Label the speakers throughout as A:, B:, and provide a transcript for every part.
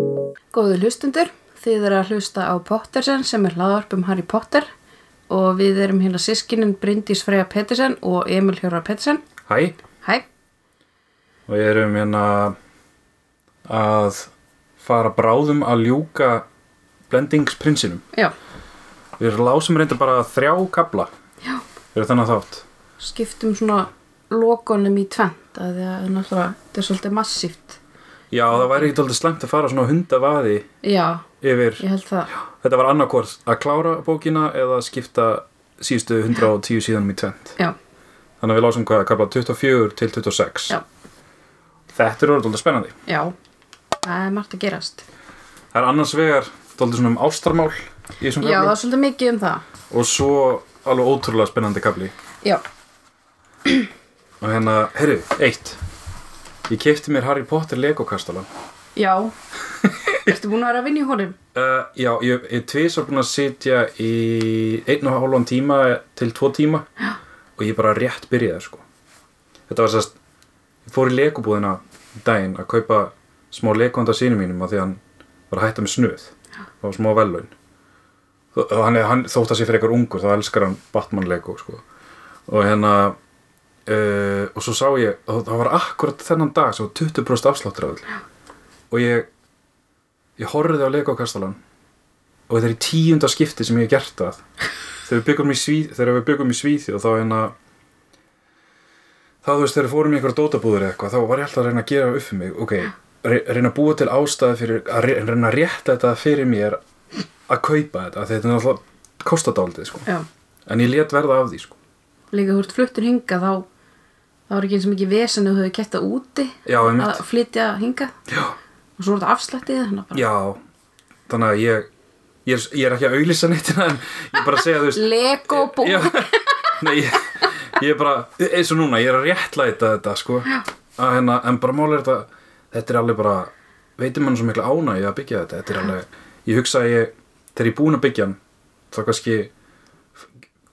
A: Góðu hlustundur, þið eru að hlusta á Pottersen sem er hlaðvarp um Harry Potter og við erum hérna sískinin Bryndís Freyja Pettersen og Emil Hjóra Pettersen.
B: Hæ,
A: Hæ,
B: og ég erum hérna að fara bráðum að ljúka blendingsprinsinum.
A: já,
B: Við lásum reynda bara þrjá kabla
A: Já.
B: fyrir þannig þátt.
A: skiptum svona lokonum í tvent að því að náttúrulega þetta er svolítið massíft.
B: Já, það væri ekki alltaf slæmt að fara svona hundavaði
A: Já,
B: yfir,
A: ég held það.
B: þetta var annarkvort að klára bókina eða skipta síðustu 110 síðanum í tvent.
A: Já.
B: Þannig að við lásum hvað, kabla 24 til 26.
A: Já.
B: Þetta eru alltaf spennandi.
A: Já, það er margt að gerast.
B: Það er annars vegar alltaf svona um ástarmál í þessum
A: Já, það
B: kabla
A: er svolítið mikið um það.
B: og svo alveg ótrúlega spennandi kabli.
A: Já,
B: Og hérna, heyrðu, eitt Ég kefti mér Harry Potter Lego-kastala
A: já. Ertu búin að vera að vinna í honum?
B: uh, Já, ég er tvisar búin að sitja í einn og hálfan tíma til tvo tíma já. og ég er bara rétt byrjaði sko Þetta var sérst, ég fór í Lego-búðina um daginn að kaupa smá Lego-handa sínum mínum af því að hann var að hætta með snuð og smá vellaun Þó- hann, er- hann þótt að sé fyrir eitthvað ungur þá elskar hann Batman Lego sko og hérna uh, og svo sá ég og það var akkurat þennan dag sem var 20% afsláttur af öll og ég ég horfði á Lego-kastalan og þetta er í tíunda skipti sem ég hef gert það þegar við byggum í, Svíð, þegar við byggum í Svíþjóð þá hérna þá þú veist þegar við fórum í einhverja dótabúður eða eitthvað þá var ég alltaf að reyna að gera upp fyrir mig ok, re- reyna að búa til ástæði fyrir að re- reyna að rétta þetta fyrir mér að kaupa þetta, af því þetta er náttúrulega kostadaldið sko,
A: Já.
B: en ég let verða af því sko
A: Líka þú ert fluttur hinga þá þá er ekki eins og mikið vesen að þú hefur kett það úti
B: Já, einmitt.
A: að flytja hinga
B: Já.
A: og svo er þetta afslættið þannig að bara
B: Já, þannig að ég ég er, ég er ekki að auðlýsa neittina en ég er bara að segja þú veist
A: Lego búk
B: já, Nei, ég, ég er bara eins og núna, ég er að réttlæta þetta sko, að hérna, en bara máli er þetta þetta er alveg bara veitir mann svo mikla ána ég að byggja þetta þetta er alveg, ég hugsa að ég þegar ég er búin að byggja hann þá kannski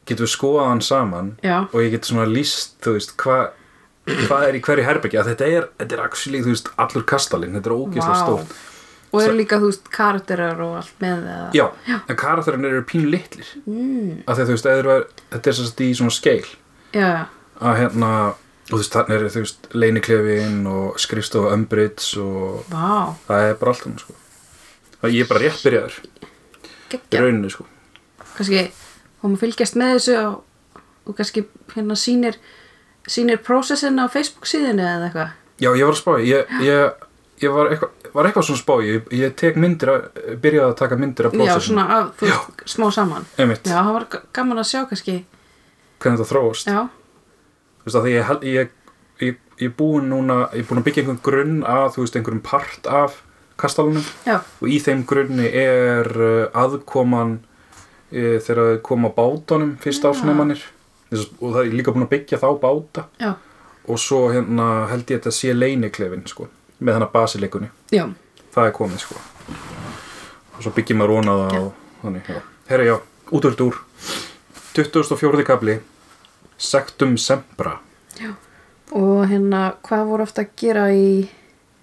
B: getum við skoðað hann saman
A: Já.
B: og ég get svona líst, þú veist, hvað hvað er í hverju herbyggja, þetta er þetta er actually, þú veist, allur kastalinn þetta er ógeðslega
A: Vá.
B: stórt
A: og eru líka þú veist karakterar og allt með það
B: Já, en karakterin eru pínu litlir mm. að því að þú veist, eða eru- þetta er sérst í svona skeil
A: já,
B: að hérna, og þú veist, þannig eru þú veist leiniklefin og skrifstofa umbrits og
A: vá,
B: það er bara allt hann sko og ég er bara rétt byrjaður í
A: geggja
B: rauninni sko
A: kannski, þá maður fylgjast með þessu og, og kannski hérna sýnir sýnir prósessin á Facebook síðinu eða eitthvað
B: Já, ég var að spá, í- ég, ég, ég var, eitthva, var eitthvað svona að spá, í, ég, ég tek myndir að, byrjaði að taka myndir að
A: já,
B: prósessinu
A: svona af, þú veist, smá saman
B: einmitt,
A: já, það var g- gaman að sjá kannski
B: hvernig þetta þróast
A: já,
B: þú veist að því ég, held- ég, ég, ég er búin núna, ég er búin að byggja einhvern grunn að, þú veist, einhverjum part af kastalunum
A: já,
B: og í þeim grunni er uh, aðkoman uh, þegar þau koma á bátunum fyrst ásnæmanir og það er líka búin að byggja þá báta
A: já,
B: og svo hérna held ég að þetta sé leiniklefin sko, með hana basilikunni
A: já
B: það er komið sko og svo byggjum maður róna það og þannig, já. herra já, út úr dúr 2004. kapli Sektum Sembra
A: og hérna, hvað voru ofta að gera í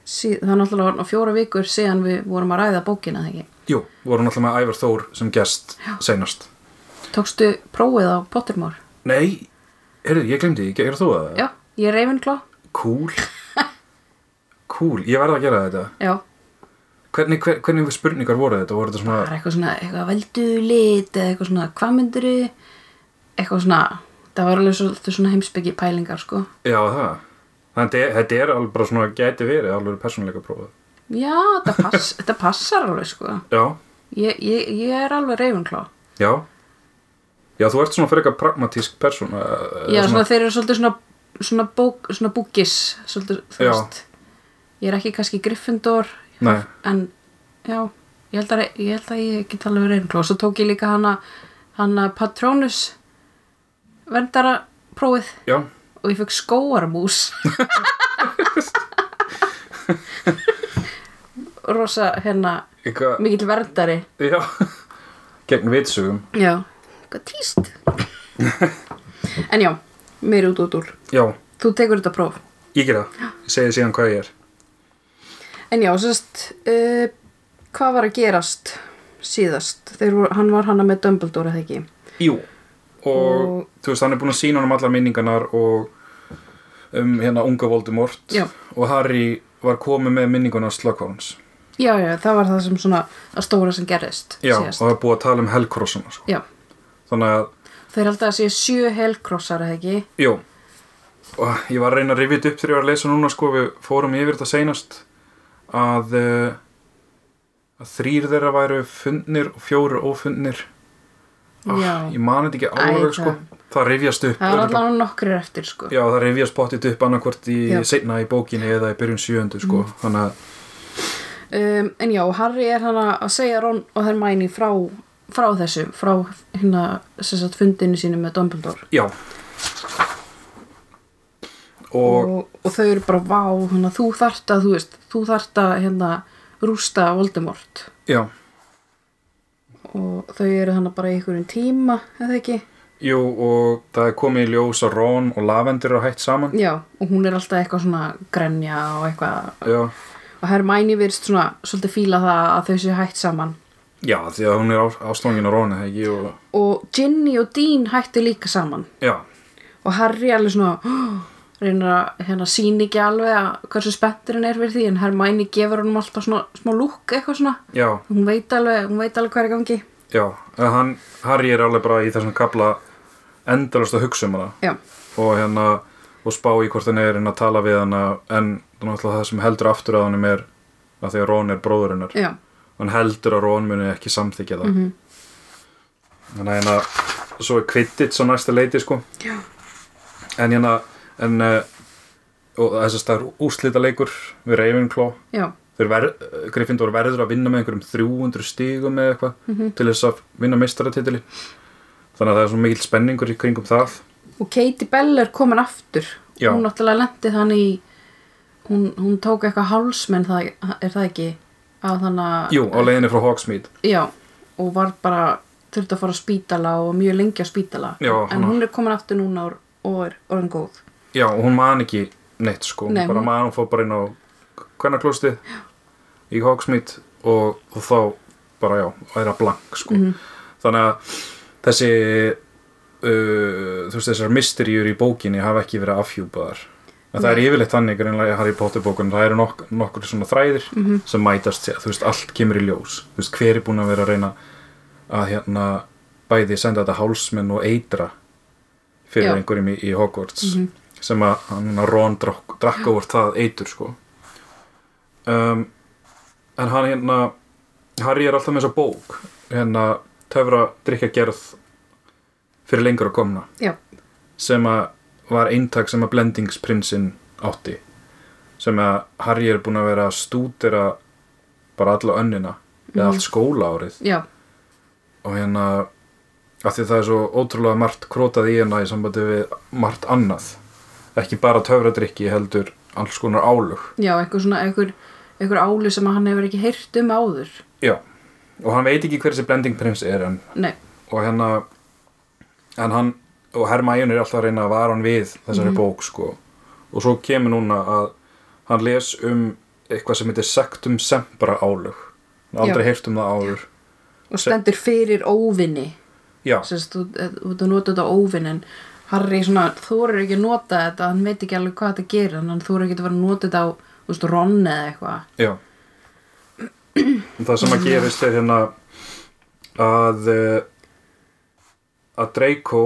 A: síð, það er náttúrulega orðin á fjóra vikur síðan við vorum að ræða bókina þegar
B: Jú, vorum alltaf með Ævar Þór sem gest seinast
A: tókstu prófið á Pottermore
B: Nei, heyrðu, ég glemdi, gerðu þú það?
A: já, ég er Ravenclaw
B: Cool Cool, ég verði að gera þetta
A: já,
B: Hvernig, hver, hvernig spurningar voru þetta? Voru þetta
A: það er
B: svona
A: eitthvað svona eitthvað veldu lit eða eitthvað svona hvað myndir eitthvað svona það var alveg svolítið svona heimsbyggi pælingar sko
B: Já, það Þannig að þetta er alveg bara svona gæti verið alveg persónuleika prófað
A: já, þetta, pass, þetta passar alveg sko
B: Já,
A: ég, ég, ég er alveg Ravenclaw
B: já Já, þú ert svona frekar pragmatísk persóna eh,
A: já,
B: svona,
A: svona, þeir eru svolítið svona svona, bók, svona búkis svolítið, þú
B: Já.
A: veist ég er ekki kannski Gryffindor
B: Nei,
A: en já, ég held að ég, held að ég get alveg Ravenclaw svo tók ég líka hana, hana Patronus verndara prófið
B: já
A: og ég fekk skóarmús rosa hérna
B: Eitthvað,
A: mikill verndari
B: já Gegn vitsugum
A: já, eitthvað tíst en já, mér út út úr
B: Já,
A: þú tekur þetta próf
B: ég gera það Ég segi síðan hvað ég er
A: en já, sérst uh, hvað var að gerast síðast? Þeir voru, hann var hana með Dumbledore eða ekki?
B: Jú, og,
A: Og-
B: þú veist, hann er búin að sína honum allar minningarnar og um hérna unga Voldemort
A: Já.
B: og Harry var komið með minninguna Slughorns.
A: Já, já, það var það sem svona að stóra sem gerðist
B: Já,
A: síðast.
B: og það er búið að tala um Helcrossuna, sko.
A: Já,
B: Þannig að,
A: þeir held að sé sjö helkrossar eða ekki?
B: jú, og ég var að reyna að rifja þetta upp þegar ég var að lesa núna, sko, við fórum yfir þetta seinast að, eh, að þrýr þeirra væru fundnir og fjóru ófundnir. Ah,
A: Já.
B: Ég mani þetta ekki
A: Æ,
B: alveg, sko.
A: það-
B: Það rifjast upp.
A: Það var
B: örugglega.
A: allan nokkrir eftir, sko.
B: Já, það rifjast pottið upp annarkvort í
A: Já. Mm.
B: seinna í bókinni eða í byrjun sjöundu sko. þannig að,
A: Um, en já, Harry er hann að segja Ron og Hermione frá, frá þessu, frá hérna, sem sagt, fundinu sínu með Dumbledore.
B: já og,
A: og, og þau eru bara, vá, hérna, þú þarft að, þú veist, þú þarft að, hérna, rústa Voldemort.
B: já,
A: Og þau eru þannig bara í einhverjum tíma, eða ekki?
B: jú og það er komið í ljós að Ron og Lavendur eru hætt saman
A: Já, og hún er alltaf eitthvað svona grenja og eitthvað.
B: já,
A: Og Hermæni virðist svona, svolítið fíla það að þau séu hætt saman.
B: já, því að hún er á, ástofangin á Ron eða ekki og,
A: Og Ginny og Dean hættu líka saman.
B: já,
A: Og Harry alveg svona, "Hó", reynir að hérna síni ekki alveg að hversu spenntur hann er fyrir því. En Hermæni gefur honum alltaf svona smá lúk eitthvað svona.
B: já,
A: Hún veit alveg, hún veit alveg hvað er í gangi.
B: já en hann, Harry er alveg bara í þessum kapla endalast að hugsa um hana
A: Já,
B: og hérna og spá í hvort hann er en að tala við hana en náttúrulega það sem heldur aftur að hann er að því að Ron er bróður hennar
A: já,
B: hann heldur að Rón muni ekki samþykja það þannig að hérna svo er kvittitt svo næsta leiti sko
A: Já.
B: en hérna en uh, og þess að það er úslita leikur við Ravenclaw
A: já,
B: þeir ver, Gryffindor verður að vinna með einhverjum 300 stígum eða eitthvað til þess að vinna meistaratitili þannig að það er svona mikill spenningur í kringum það
A: og Katie Bell er komin aftur
B: Já.
A: hún náttúrulega lendi þannig í hún, hún tók eitthvað hálsmenn það, er það ekki að þannig að
B: jú, á leiðinni frá Hogsmeade
A: já, og var bara þurfti að fara á spítala og mjög lengi á spítala
B: Já,
A: en
B: hana.
A: hún er komin aftur núna og, og er orðin góð
B: Já, og hún man ekki neitt sko,
A: Nei,
B: hún bara
A: hún-
B: man, hún fór bara inn á kvennarklostið í Hogsmeade og, og þá bara já, það er að blank sko.
A: Mhm.
B: Þannig að þessi, uh, þú veist þessar mysteríur í bókinni hafa ekki verið afhjúpaðar. En það er yfirleitt þannig greinlega í Harry Potter bókunum, það eru nok nokkur svona þræðir
A: Mhm.
B: sem mætast, þú veist, allt kemur í ljós. Þú veist, hver er búin að vera að reyna að hérna bæði senda þetta hálsmenn og eitra fyrir
A: Já.
B: einhverjum í, í Hogwarts sem að hann að Ron drakk, drakk over það eitur sko um, en hann hérna Harry er alltaf með þessa bók hérna töfra drikka gerð fyrir lengur að komna
A: já,
B: sem að var eintak sem að blendingsprinsinn átti sem að Harry er búin að vera að stúdera bara alla önnina eða allt skóla árið
A: já,
B: og hérna af því það er svo ótrúlega margt krótað í hérna í sambandi við margt annað ekki bara töfradrykki heldur alls konar álug
A: já, eitthvað svona eitthvað, eitthvað áli sem hann hefur ekki heyrt um áður
B: já, og hann veit ekki hver þessi blending prins er en,
A: nei,
B: og hérna en hann og Hermæjun er alltaf að reyna að vara hann við þessari bók sko og svo kemur núna að hann les um eitthvað sem heitir sektum sembra álug hann aldrei
A: Já.
B: heyrt um það áður
A: og stendur fyrir óvinni
B: já,
A: sérst, þú eh, þú ert að nota þetta óvinn en Harry svona, þorir ekki að nota þetta hann veit ekki alveg hvað þetta gerir en hann þorir ekki að vera að nota þetta á þú veist, Ron eða eitthvað
B: Já Það sem að gerist er hérna að eh, að Draco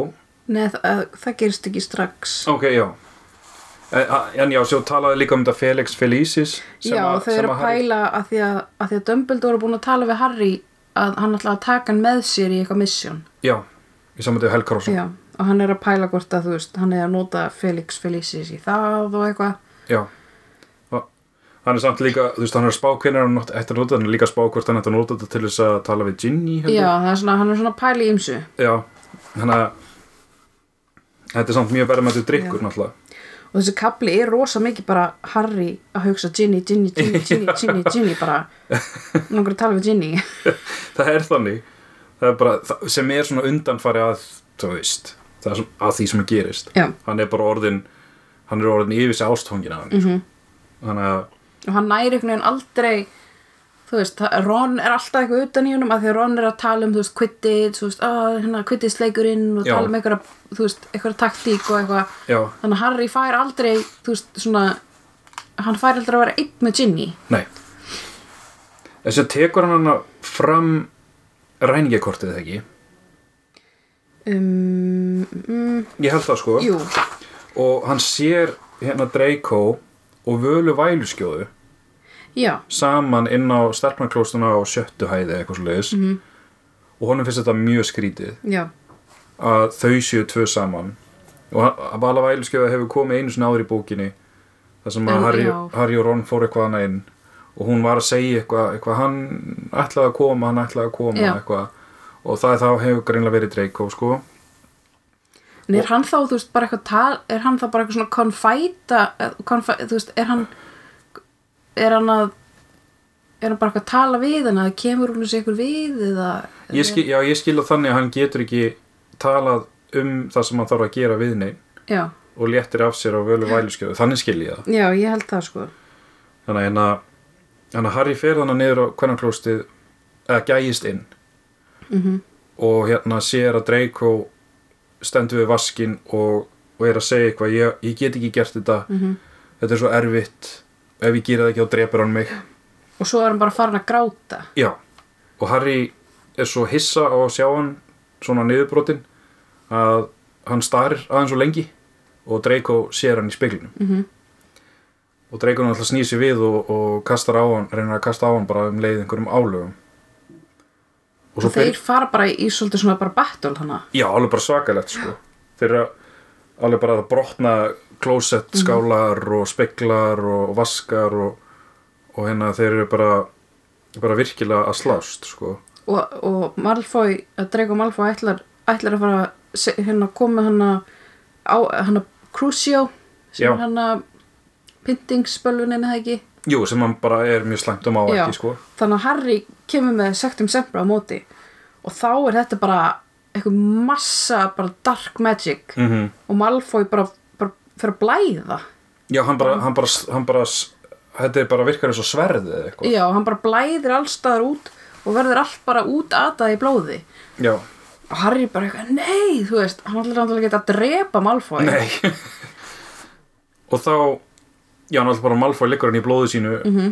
A: Nei, það, það gerist ekki strax
B: Ok, já En, en já, svo talaði líka um þetta Felix Felicis
A: Já, þau eru að pæla að því að, að því að Dumbledore er búin að tala við Harry að hann ætla að taka hann með sér í eitthvað misjón
B: Já, í samvættu Helgarósson
A: Já, og hann er að pæla hvort að þú veist hann er að nota Felix Felicis í það og eitthvað
B: já. Og Hann er samt líka, þú veist, hann er að spá hvernig hann átti- ætti að nota, hann er líka að spá hvort hann ætti að nota þetta til þess að tala við Ginny held ég.
A: Já, það er svona, hann er svona að pæla í ymsu
B: Já, þannig að þetta er samt mjög verðmættu drikkur náttúrulega
A: og þessi kapli er rosa mikið bara Harry að hugsa Ginny, Ginny, Ginny, Ginny, Ginny, Ginny bara langar að tala við Ginny
B: það er þannig það er bara, það, sem er svona undanfari að þú veist, það er svona, að því sem gerist
A: Já.
B: hann er bara orðin hann er orðin yfir sig ástfóngin af hann mm -hmm. sko. þannig að,
A: og hann næri einhvern veginn aldrei þú veist, það- Ron er alltaf eitthvað utan í honum að því að Ron er að tala um, þú veist, quidditch, þú veist, að, hérna, quidditchleikurinn og
B: Já.
A: tala um einhverja, þú veist, einhverja taktík og eitthvað.
B: Já,
A: Þannig að Harry fær aldrei, þú veist, svona, hann fær aldrei að vera einn með Ginny.
B: nei Þess að tekur hann hana fram ræningjakortið eða ekki
A: Um, mm,
B: Ég held það sko
A: jú,
B: Og hann sér hérna Draco og völu væluskjóðu
A: já,
B: saman inn á stelpnarklóstuna á sjöttu hæði eða eitthvað svo -hmm. og honum finnst þetta mjög skrítið
A: já,
B: að þau séu tvö saman og hann- að Bala Væluskjöfa hefur komið einu sinni áður í bókinni þar sem að
A: Já,
B: Harry,
A: já.
B: Harry og Ron fór eitthvað hana inn og hún var að segja eitthvað, eitthvað hann ætlaði að koma, hann ætlaði að koma
A: Já.
B: eitthvað og það er þá hefur greinlega verið Draco sko
A: En er hann þá, þú veist, bara eitthvað tal, er hann þá bara eitthvað svona konfæta, eh, konfæ, þú veist, er hann, er hann að, er hann bara eitthvað að tala við hann, að kemur hún þessi ykkur við eða,
B: ég skil, Já, ég skil að þannig að hann getur ekki talað um það sem hann þarf að gera við neinn
A: já,
B: og léttir af sér á völu Væluskjöfu þannig skil ég það
A: já, ég held það sko,
B: þannig að hérna þannig að Harry fer þannig niður á kvennarklóstið eða gægist inn
A: Mhm.
B: og hérna sér að Draco stendur við vaskin og, og er að segja eitthvað ég, ég get ekki gert þetta
A: Mhm.
B: þetta er svo erfitt ef ég gera það ekki þá drepur hann mig
A: og svo er hann bara farin að gráta,
B: já, og Harry er svo hissa á að sjá hann svona niðurbrotin að hann starir aðeins svo lengi og Draco sér hann í speklinum
A: Mhm.
B: og Draco náttúrulega snýr sér við og, og kastar á hann, reynir að kasta á hann bara um leið einhverjum álögum og
A: og
B: svo
A: þeir
B: byrj-
A: fara bara í svolítið svona bara battle hana,
B: já, alveg bara svakalegt sko þeir eru alveg bara að brotna klósett
A: Mhm.
B: skálar og speklar og vaskar og, og hérna þeir eru bara bara virkilega að slást sko
A: og, og Malfoy, að Draco Malfoy ætlar, ætlar að fara, að se- hérna, koma hann að, á, hann að Crucio, sem
B: Já.
A: er hann að, pyntingsspölvunin eða ekki,
B: jú, sem hann bara er mjög slæmt um á
A: Já.
B: ekki sko
A: þannig að Harry kemur með sektum sempra á móti og þá er þetta bara eitthvað massa bara dark magic
B: mm
A: og Malfoy bara, bara fyrir að blæða
B: já, hann bara, hann bara, hann bara þetta er bara virkar eins og sverðið eða eitthvað
A: já, hann bara blæðir allstaðar út og verður allt bara út í blóði
B: já,
A: og Harry bara eitthvað, nei, þú veist hann ætlar náttúrulega ekki að drepa Malfoy
B: Nei Og þá Já, hann alltaf bara Malfoy liggur hann í blóðu sínu -hmm.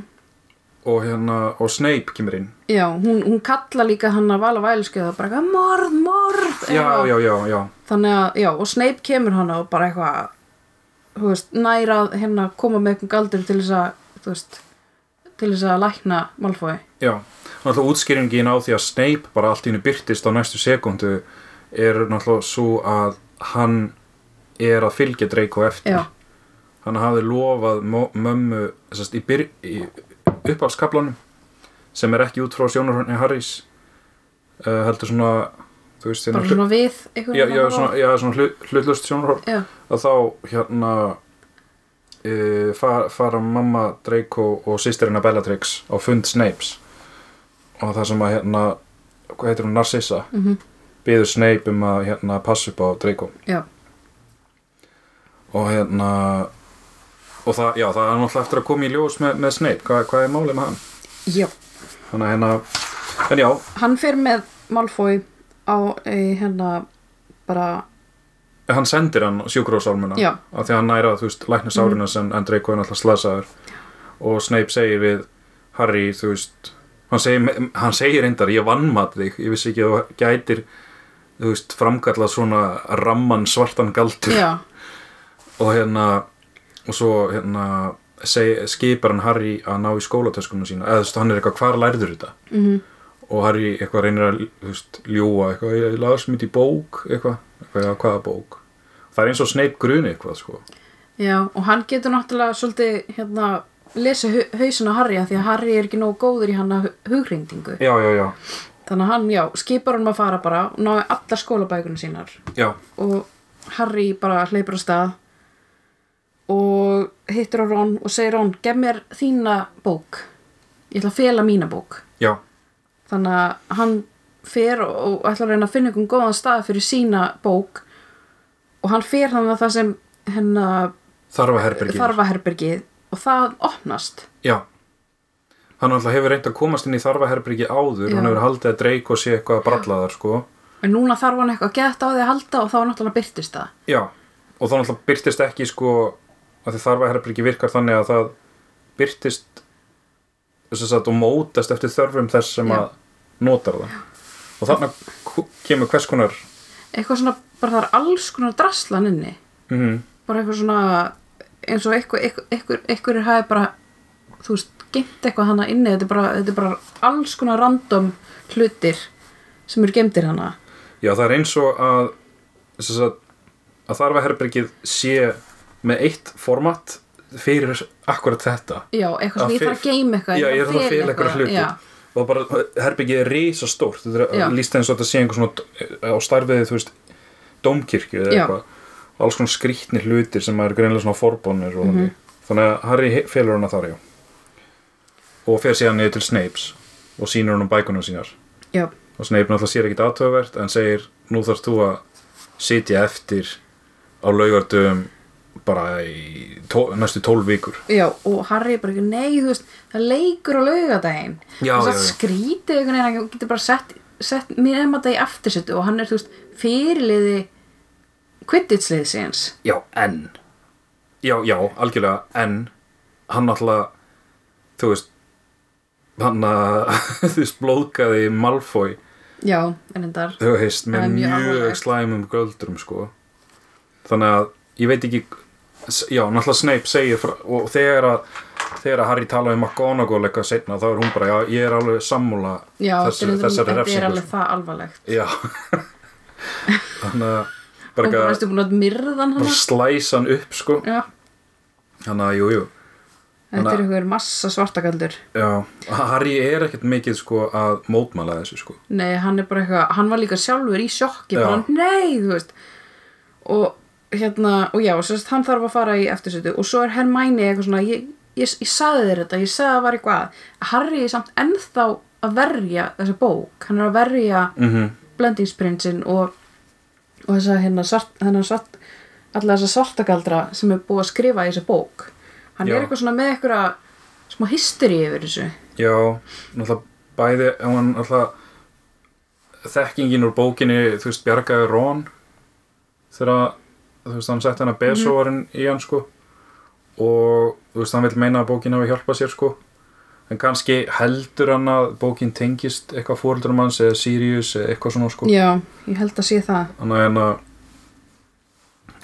B: og, hérna, og Snape kemur inn
A: já, hún, hún kalla líka hann að vala vælskeið og bara eitthvað, morð, morð
B: Já,
A: eitthvað.
B: já, já, já
A: þannig að, já, og Snape kemur hana og bara eitthvað þú veist, næra að hérna koma með eitthvað galdur til þess að, þú veist til þess að lækna Malfoy
B: Já, náttúrulega útskýringin á því að Snape bara allt í hennu byrtist á næstu sekundu er náttúrulega svo að hann er að fylgja Draco eftir
A: já,
B: Hann hafði lofað mo- mömmu sest, í, byr, í uppafskablanum sem er ekki út frá sjónarhörni Harrys uh, heldur svona þú veist, hérna
A: bara svona við einhvern
B: já, já,
A: annan
B: svona, já, svona hlu- hlutlust sjónarhorn
A: já,
B: að þá hérna e, far, fara mamma Draco og sýstirina Bellatrix á fund Snapes og það sem að hérna hvað heitir hún Narcissa mm
A: Mhm.
B: býður Snape um að hérna passa upp á Draco
A: já,
B: og hérna og það, já, það er náttúrulega eftir að koma í ljós með, með Snape, Hva, hvað er málið með hann
A: já
B: þannig að hérna en já,
A: hann fer með Malfoy á e, hérna bara,
B: hann sendir hann sjúkurásálmuna
A: Já.
B: af því að hann næra, þú veist, lækna sáruna sem en Draco er náttúrulega slasaður og Snape segir við Harry, þú veist hann segir, hann segir reyndar, ég vannmat þig ég vissi ekki að þú gætir þú veist, framkallað svona ramman svartan galtur
A: já,
B: og hérna, og svo hérna seg, skipar hann Harry að ná í skólatöskunum sína eða þú veist, hann er eitthvað, hvar lærður þetta
A: mm
B: og Harry eitthvað reynir að þú veist, ljúa eitthvað, ég las mitt í bók eitthvað, eitthvað, já, hvaða bók það er eins og Snape gruni eitthvað sko.
A: já og hann getur náttúrulega svolítið hérna lesa hausin á Harry af því að Harry er ekki nógu góður í hann að hugreindingu
B: já, já, já,
A: þannig að hann, já, skipar hann að fara bara og náði allar skólabækunum sínar
B: já,
A: og Harry bara hleypur á stað og hittir á Ron og segir Ron, gef mér þína bók ég ætla að fela mína bók
B: já,
A: þannig að hann fer og, og ætlar að reyna að finna einhvern góðan stað fyrir sína bók og hann fer þannig að það sem hérna, hennar
B: þarfa herbergir
A: þarfaherbergið og það opnast
B: já, hann alltaf hefur reynt að komast inn í þarfaherbyrgi áður
A: Já.
B: hann hefur haldið að dreik og sé eitthvað að bralla þar sko.
A: en núna þarf hann eitthvað að geta á því að halda og þá náttúrulega byrtist það
B: já, og þá alltaf byrtist ekki sko, að því þarfaherbyrgi virkar þannig að það byrtist sem sagt, og mótast eftir þörfum þess sem
A: Já.
B: að notar það og þannig kemur hvers konar
A: eitthvað svona, bara það er alls konar draslan inni
B: mm
A: bara eitthvað svona eins og eitthvað, eitthvað, eitthvað, eitthvað er hæði bara þú veist, geimt eitthvað hana inni þetta er bara, þetta er bara alls konar random hlutir sem eru geimtir hana
B: Já, það er eins og að, sem sagt, að þarfaherbergið sé með eitt format fyrir akkurat þetta
A: já, eitthvað
B: Að
A: svona, ég þarf að geima eitthvað
B: Já, ég
A: ég
B: þarf að fela eitthvað hluti
A: já,
B: og bara herbergið er risa stórt þetta
A: Já.
B: er líst eins og þetta sé einhver svona á starfiði, þú veist, dómkirkju eða
A: Já.
B: eitthvað alls konar skrýtni hlutir sem er greinlega svona forbónir
A: Mhm.
B: mm þannig að Harry he- felur hana þar já og fer síðan niður til Snapes og sýnir hann um bækunum sínar
A: já,
B: og Snape náttúrulega sér ekkit aðtöðvert en segir nú þarfst þú að sitja eftir á laugardöfum bara í tó, næstu tólf vikur
A: já og Harry er bara eitthvað, nei, þú veist það leikur á laugadaginn
B: Já,
A: og
B: já,
A: það
B: já.
A: skrítið einhvern veginn, hann getur bara sett, sett mér emma dag í aftursettu og hann er, þú veist, fyrirliði kvittitsliðsins
B: já, en já, já, algjörlega, en hann náttúrulega þú veist hann að þú veist blóðgaði Malfoy
A: já, en endar
B: þú veist,
A: Það
B: með
A: er mjög
B: mjög,
A: alvarlegt.
B: slæmum göldrum sko þannig að ég veit ekki s- já, náttúrulega Snape segir frá, og þegar að þegar að Harry talaði um McGonagall eitthvað setna þá er hún bara, já, ég er alveg sammúla
A: Já,
B: þessu,
A: þetta er-
B: þessari
A: þetta er
B: refsingu
A: alveg það alvarlegt
B: sko. já þannig að
A: Hún
B: bara,
A: bara
B: bara,
A: erstu búin að myrða hann
B: bara slæsa hann upp sko
A: Já,
B: þannig að, jú, jú
A: þetta er
B: Þannig að-
A: einhver massa svartakaldur
B: já, Harry er ekkert mikið sko að mótmæla þessu sko
A: Nei, hann er bara eitthvað, hann var líka sjálfur í sjokki
B: Já.
A: bara, nei, þú veist og hérna, og já, sérst, hann þarf að fara í eftirsetu og svo er Hermæni eitthvað svona ég, ég, ég saði þér þetta, ég saði það var eitthvað að. Harry er samt ennþá að verja þessa bók, hann er að verja
B: mm -hmm.
A: blendingsprinsinn og, og þessa hérna svart, þennan svart alla þessa svartagaldra sem er búið að skrifa í þessa bók hann
B: Já.
A: er eitthvað svona með eitthvað smá hysteri yfir þessu
B: Já, náttúrulega bæði ef hann náttúrulega þekkingin úr bókinni, þú veist, bjargaði Ron þegar þú veist, hann sett hann að besóvarinn í hann sko og þú veist, hann vil meina að bókin hafi hjálpað sér sko en kannski heldur hann að bókin tengist eitthvað fóreldurum hans eða Sirius eða eitthvað svona sko
A: já, ég held að sé það
B: Þannig að hérna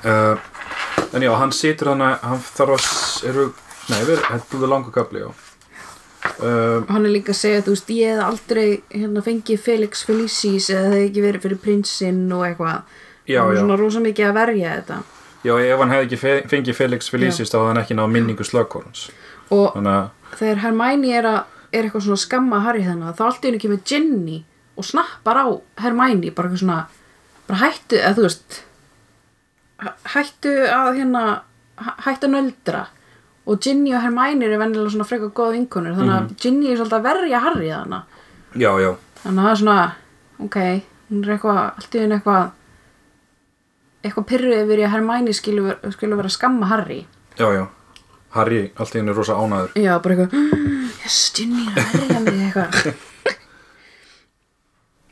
B: uh, En já, hann situr þannig að hann þarf að s- eru, Nei, við heldur við langu kafli, já uh,
A: og hann er líka að segja, þú veist, ég hef aldrei hérna fengið Felix Felicis eða það hefði ekki verið fyrir prinsinn og eitthvað
B: Já,
A: hann er
B: já
A: svona rosa mikið að verja þetta
B: Já, ef hann hefði ekki fe- fengið Felix Felicis þá hefði hann ekki náð minningu slagkorns
A: og
B: Þannig að,
A: þegar Hermæni er, að- er eitthvað svona að skamma Harry þannig þá allt í henni kemur Ginny og snappar á Hermæni bara eitthvað svona bara hættu, eða þú veist hæ- hættu að hérna hæ- hættu að nöldra og Ginny og Hermæni eru venjulega svona frekar góða vinkonur þannig
B: Mhm.
A: að Ginny er svolítið að verja Harry þannig
B: já, já
A: þannig að það er svona ok, hún er eitthvað, allt í henni eitthvað eitthvað pyrruð yfir í að Hermæni skilu, skilu vera að skamma Harry
B: Já, já Harry, allt í henni er rosa ánæður
A: Já, bara eitthvað "Mm, Yes, Ginny, er að verja mig eitthvað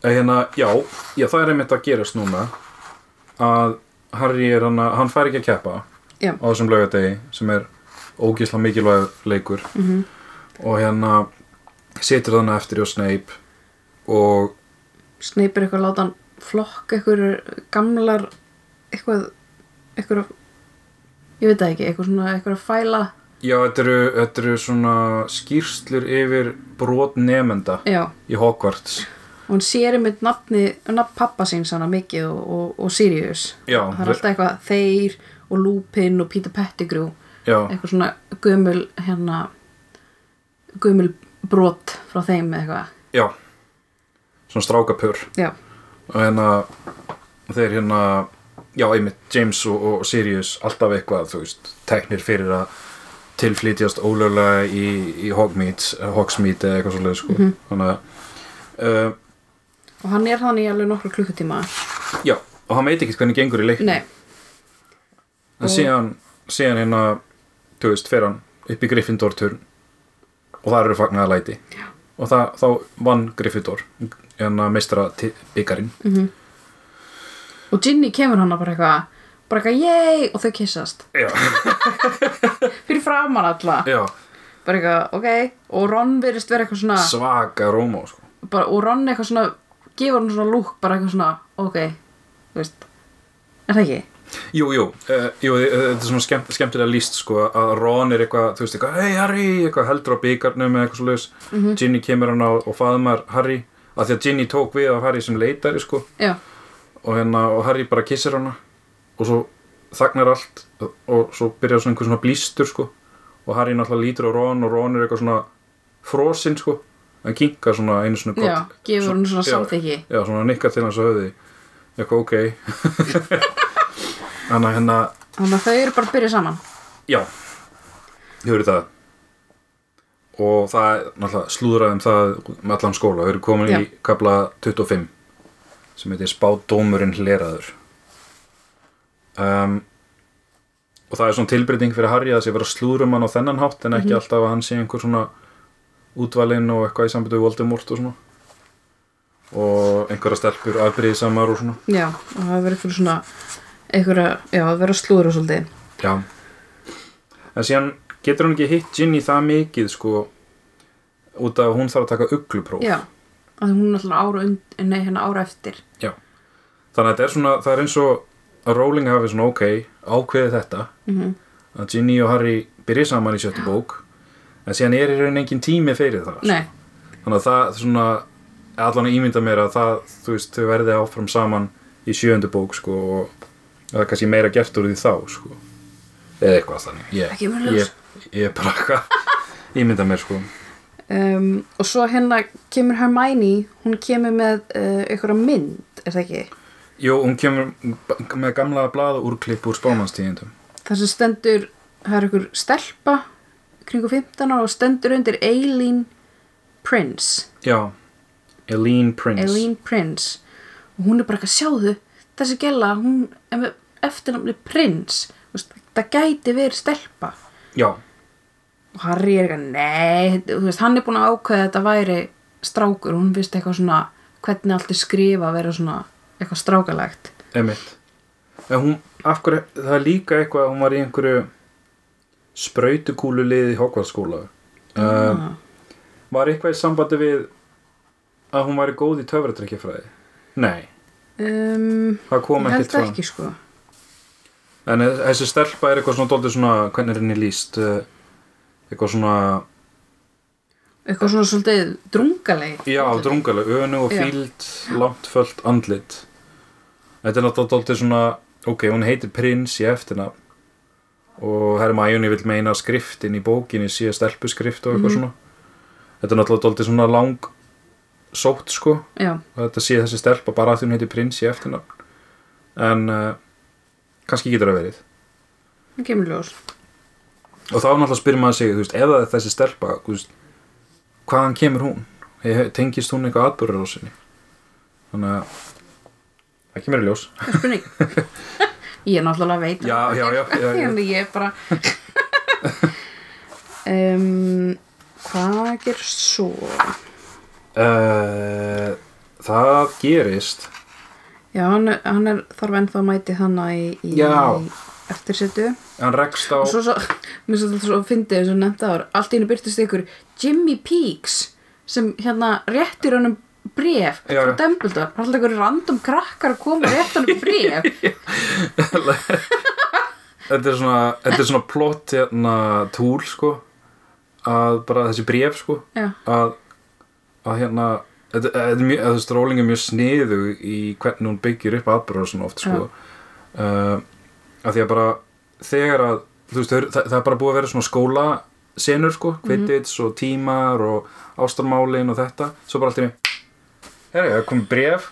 B: Eh, Hérna, já, já, það er einmitt að gerast núna að Harry er hann að, hann fær ekki að keppa
A: Já,
B: á þessum laugadegi sem er ógísla mikilvægur leikur -hmm. og hérna situr þannig eftir hjá Snape og
A: Snape er eitthvað að láta hann flokka eitthvað gamlar eitthvað, eitthvað ég veit það ekki, eitthvað svona eitthvað að fæla
B: já, þetta eru, þetta eru svona skýrslur yfir brot nefenda
A: Já,
B: í Hogwarts
A: og hann sér einmitt nafni, nafn pappa sín svona mikið og, og, og Sirius
B: Já,
A: það er alltaf eitthvað þeir og Lupin og Peter Pettigrew
B: já,
A: eitthvað svona gömul hérna gömul brot frá þeim eða eitthvað
B: já svona strákapur
A: Já,
B: og hérna þeir hérna, já einmitt James og, og Sirius alltaf eitthvað þú veist, teknir fyrir að tilflytjast ólöglega í, í Hogmeats, Hogsmeade eða eitthvað svolítið sko, þannig að uh,
A: og hann er þannig í alveg nokkra klukkutíma
B: já, og hann veit ekki hvernig gengur í leiknum
A: Nei,
B: en síðan, síðan hérna, þú veist, fer hann upp í Gryffindor-turn og það eru fagnaða læti
A: Já.
B: og það, þá vann Gryffindor hérna, en að meistra byggarinn
A: og Ginny kemur hana bara eitthvað bara eitthvað yey og þau kissast
B: já,
A: fyrir framan alla
B: já,
A: bara eitthvað ok og Ron virðist vera eitthvað svona
B: svaka rómó sko.
A: bara, og Ron eitthvað svona gefur hann svona lúk bara eitthvað svona ok þú veist er það ekki
B: Jú, jú, uh, jú eh, þetta er svona skemmt, skemmtilega líst sko að Ron er eitthvað, þú veist eitthvað, hei Harry, eitthvað heldur á byggarnum eða eitthvað svo laus Ginny kemur hann á og faðmar Harry af því að Ginny tók við af Harry sem leitari sko
A: já
B: og, hérna, og Harry bara kissir hana og svo þagnar allt og svo byrjar svona einhver svona blístur sko og Harry náttúrulega lítur á Ron og Ron er eitthvað svona frosinn sko hann kinkar svona einu svona
A: já gefur hann svona
B: Já.
A: samþykki
B: Já, svona nikkar til hans á höfði eitthvað ok þannig að hérna
A: þannig að þau eru bara að byrja saman
B: Já, þau eru það og það er náttúrulega slúðraðum það með allan skóla, þau eru komin
A: Já.
B: í kapla 25 sem heitir Spádómurinn hleraður um, og það er svona tilbreyting fyrir Harry að það sé vera slúðrum hann á þennan hátt en ekki alltaf að hann sé einhver svona útvalinn og eitthvað í sambyndu Voldemort og svona og einhverja stelpur afbrýðisamar og svona
A: já og það verður fyrir svona einhverja já það verður slúður og svolítið
B: Já En síðan getur hún ekki hitt Ginny það mikið sko út af að hún þarf að taka uglupróf
A: já að hún er alltaf ára und, nei hérna ára eftir
B: Já. Þannig að þetta er svona, það er eins og að Rowling hafi svona ok, ákveði þetta
A: Mhm.
B: að Ginny og Harry byrja saman í sjöttu bók en síðan er í raun engin tími fyrir það sko.
A: nei
B: þannig að það svona allan að ímynda mér að það, þú veist, þau verði áfram saman í sjöndu bók sko og það er kannski meira gert úr því þá sko eða eitthvað þannig ég,
A: Ekki verið
B: ég, ég bara eitthvað ímynda mér sko
A: um, og svo hérna kemur Hermione hún kemur með uh, einhverja mynd er það ekki?
B: Jú, hún kemur b- með gamla blaða úrklipp úr spámannstíðindum
A: þar sem stendur, það er einhver stelpa kringu 15 ára og stendur undir Eileen Prince
B: Já, Eileen Prince
A: Eileen Prince og hún er bara ekki að sjáðu þessi gæla, hún er með eftirnafni Prince Þú veist, það gæti verið stelpa
B: Já,
A: og Harry er eitthvað, nei þú veist, hann er búin að ákveða að þetta væri strákur, hún vist eitthvað svona hvernig allt er skrifa að vera svona eitthvað strákalegt
B: emitt En hún, af hverju, það er líka eitthvað að hún var í einhverju sprautukúlu liði Hogwartsskóla um,
A: Ah.
B: Var eitthvað í sambandi við að hún væri góð í töfratrykkjafræði? Nei,
A: um,
B: það kom
A: ég
B: ekkert
A: held það
B: fram.
A: ekki sko
B: En þessi stelpa er eitthvað svona dóldið svona, hvernig er henni líst? eh, Eitthvað svona,
A: eitthvað svona svolítið drungaleg
B: já, drungaleg, önu og
A: Já.
B: fíld, langt föld andlit. Þetta er náttúrulega dóldið svona, ok, hún heitir Prins í eftirnafn og Hermæjunni vill meina að skriftin í bókinni sé stelpuskrift og eitthvað
A: Mhm.
B: svona. Þetta er náttúrulega dóldið svona lang sótt sko.
A: já,
B: og þetta sé þessi stelpa bara að því hún heiti prins í eftirnafn en uh, kannski getur það verið
A: það kemur ljós
B: og þá náttúrulega spyrir maður sig þú veist, ef það er þessi stelpa þú veist, hvaðan kemur hún He- tengist hún eitthvað atbyrður á sinni þannig að það kemur í ljós
A: Það er spurning ég er náttúrulega veit
B: já, já, já, já, já.
A: en ég er bara um, hvað gerst svo
B: Uh, það gerist
A: já, hann, er- hann er þarf ennþá að mæti þannig í, í
B: Já.
A: eftirsetu
B: hann rekst á
A: og svo, svo, mér svo, svo fyndið eins og nefnda ára, allt í henni byrtist ykkur Jimmy Peaks sem hérna réttir honum bref
B: Já,
A: frá
B: já.
A: Dumbledore, alltaf einhverju random krakkar að koma og rétta honum bref
B: þetta er svona, þetta er svona plott hérna, túl sko að bara þessi bréf sko
A: já,
B: að, að hérna þetta þetta er mjög, að þessi Rowling er mjög sniðu í hvernig hún byggir upp atbyrðarsun oft sko uh, að því að bara þegar að þú veist, þau eru- það, það er bara búið að vera svona skóla senur sko,
A: Mhm.
B: kvittits og tímar og ástarmálin og þetta svo bara allt í mig herra, það kom bref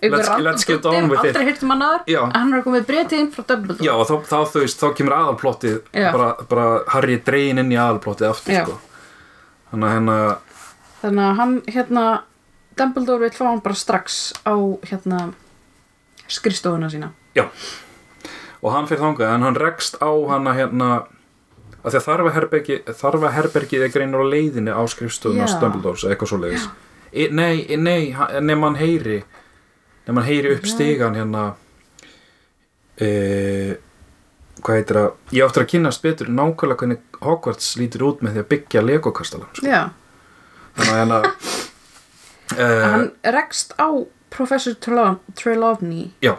A: einhver
B: Let's- let's get on with it.
A: aldrei hirtum hann aður,
B: Já.
A: hann er komið bref til inn frá Dumbledore
B: já, og þá, þá, þú veist, þá kemur aðalplottið
A: Já.
B: bara, bara Harry er dregin inn í aðalplottið aftur
A: Já.
B: sko þannig að hérna
A: Þannig að hann hérna Dumbledore vill fá hann bara strax á hérna skrifstofuna sína
B: Já og hann fyrir þangað en hann rekst á hana hérna af því að þarfa herbergi þarfa herbergið er greinur á leiðinni á skrifstofuna
A: Já.
B: Stömbledórs eða eitthvað svo leiðis nei, e- nei, ha- nema hann heyri nema hann heyri upp
A: Já.
B: stigan hérna e, hvað heitir að ég áttur að kynast betur nákvæmlega hvernig Hogwarts lítur út með því að byggja legokastalan sko.
A: Já,
B: þannig að hérna e,
A: hann rekst á professor Trela- Trelawney
B: já,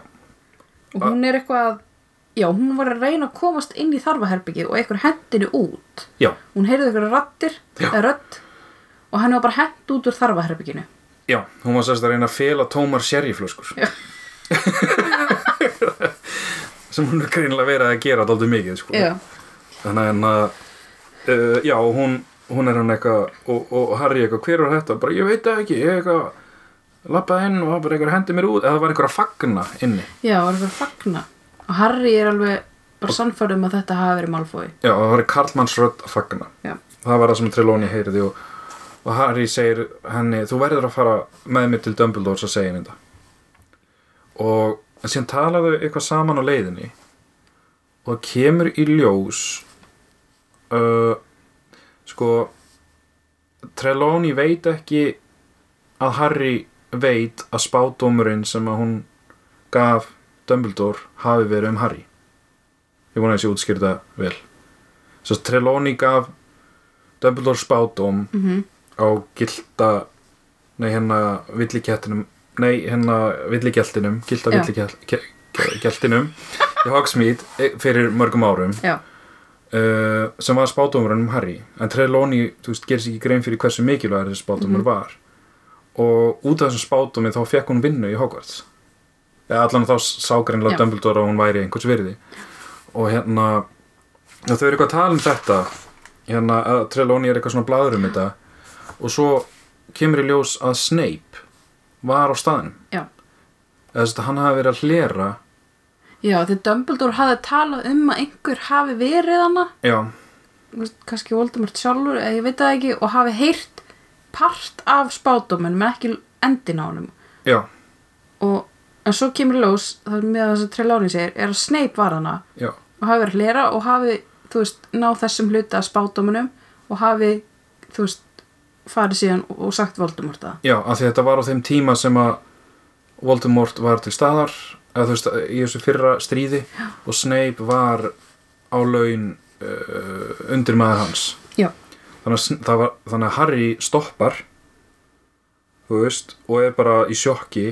A: og hún er eitthvað já, hún var að reyna að komast inn í þarfaherbyggið og einhver hendinu út
B: já,
A: hún heyrði einhverja rattir
B: Já.
A: eða rödd og hann var bara hent út úr þarfaherbygginu
B: já hún var sérst að reyna að fela tómar sérjiflöskur
A: Já.
B: sem hún er greinilega verið að gera dálítið mikið sko.
A: já,
B: þannig að hérna, uh, já, hún, hún er hann eitthvað og, og, og Harry eitthvað, hver var þetta? bara ég veit það ekki, ég eitthvað lappaði inn og það bara einhver hendi mér út eða það var einhver að fagna inni
A: já, var eitthvað að fagna og Harry er alveg bara sannfærum að þetta hafi verið Malfoy
B: já, það var Karlmanns rödd að fagna
A: já,
B: það var það sem Trelawney heyrði og, og Harry segir henni þú verður að fara með mér til Dumbledore og segja henni þetta og en síðan tala þau eitthvað saman á leiðinni og það kemur í ljós uh, sko Trelawney veit ekki að Harry veit að spádómurinn sem að hún gaf Dumbledore hafi verið um Harry ég vona að þessi útskýrta vel svo Trelawney gaf Dumbledore spádóm
A: mm
B: á gilda nei hérna villikettinum nei hérna villigeltinum gilda
A: Já.
B: villigeltinum í Hogsmeade e- fyrir mörgum árum
A: já,
B: uh, sem var spátumurinn um Harry en Trelawney, þú veist, gerir sér ekki grein fyrir hversu mikilvægur þessi spátumur
A: Mhm.
B: var og út af þessum spátumi þá fekk hún vinnu í Hogwarts eða allan þá sá greinlega
A: Já.
B: Dumbledore að hún væri einhvers virði og hérna og þau eru eitthvað að tala um þetta hérna að Trelawney er eitthvað svona bladur um þetta og svo kemur í ljós að Snape var á staðnum
A: Já.
B: eða þess að hann hafi verið að hlera
A: já því Dumbledore hafi talað um að einhver hafi verið hana
B: já,
A: þú veist, kannski Voldemort sjálfur eða ég veit það ekki og hafi heyrt part af spátuminn menn ekki endin á honum
B: já,
A: og en svo kemur í ljós það er með þess að Trelawney segir er að Snape var hana
B: já
A: og hafi verið að hlera og hafi þú veist, náð þessum hluta að spátumunum og hafi, þú veist farið síðan og, og sagt Voldemort það
B: Já, af því þetta var á þeim tíma sem að Voldemort var til staðar eða þú veist, í þessu fyrra stríði Já. og Snape var á laun uh, undir maður hans
A: Já.
B: þannig að, Sn- það var, þannig að Harry stoppar þú veist, og er bara í sjokki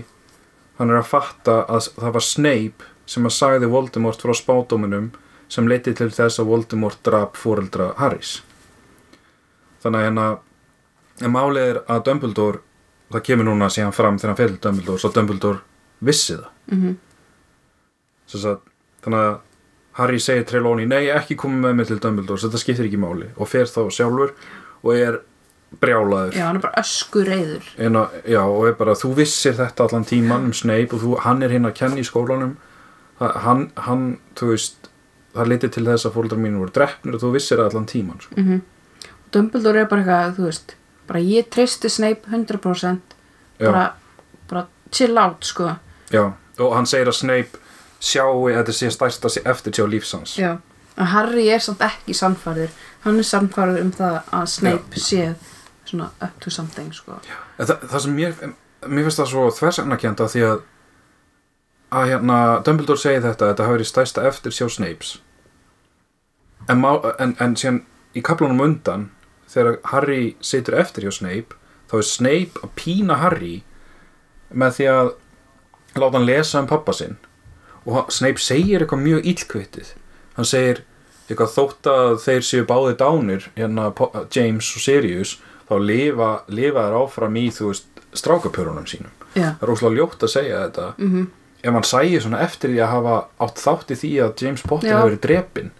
B: hann er að fatta að s- það var Snape sem að sagði Voldemort frá spádóminum sem leiti til þess að Voldemort drap fóreldra Harrys þannig að hérna en málið er að Dumbledore það kemur núna síðan fram þegar hann fyrir Dumbledore svo Dumbledore vissi það
A: mm
B: Sem sagt, þannig að Harry segir Trelawney nei ekki koma með mig til Dumbledore svo þetta skiptir ekki máli og fer þá sjálfur og er brjálaður
A: Já, hann er bara öskur reyður
B: en að, já, og er bara, þú vissir þetta allan tíman um Snape og þú, hann er hinn að kenna í skólanum það, hann, hann, þú veist það leiti til þess að fóldrar mínu voru drefnir og þú vissir það allan tíman sko.
A: Dumbledore er bara eitthvað, þú veist bara ég treysti Snape 100%
B: Já.
A: bara, bara chill out, sko
B: já, og hann segir að Snape sjái, þetta sé stærsta eftir sjá lífsans
A: Já, en Harry er samt ekki sannfærður hann er sannfærður um það að Snape sé svona up to something, sko
B: En Þa, það sem mér, mér finnst það svo þversagnakenda því að að hérna, Dumbledore segi þetta þetta hafi verið stærsta eftir sjá Snapes en, má, en, en síðan í kaplunum undan þegar Harry situr eftir hjá Snape þá er Snape að pína Harry með því að láta hann lesa um pappa sinn og hann- Snape segir eitthvað mjög illkvittið hann segir eitthvað þótt að þeir séu báði dánir hérna Po- James og Sirius þá lifa, lifa þær áfram í þú veist strákapjörunum sínum
A: Já,
B: það er óslega ljótt að segja þetta -hmm.
A: Mhm.
B: ef hann sæi svona eftir því að hafa átt þátt í því að James Potter
A: Já.
B: hefur verið drepin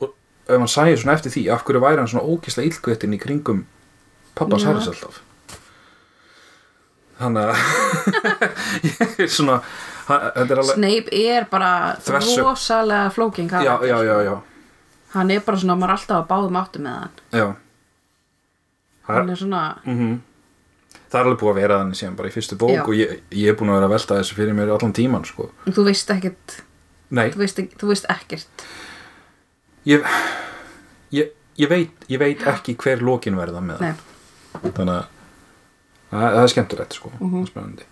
B: og ef hann sæi svona eftir því af hverju væri hann svona ókislega illkvittin í kringum pappas
A: Já.
B: Harrys alltaf þannig að ég er svona hann- þetta er alveg
A: Snape er bara
B: Þversögn.
A: rosalega flóking
B: já, já, já, já,
A: hann er bara svona, maður er alltaf að báðum áttum með hann
B: já. Það
A: hann er svona,
B: það er alveg búið að vera þannig síðan bara í fyrstu bók
A: Já.
B: og ég, ég er búin að vera að velta þessu fyrir mér allan tíman sko.
A: þú veist ekkert
B: Nei,
A: þú veist, ekki, þú veist ekkert
B: ég, ég, ég, veit, ég veit ekki hver lokin verða með
A: Nei, Mhm.
B: það þannig að það, það er skemmtilegt sko, mm spennandi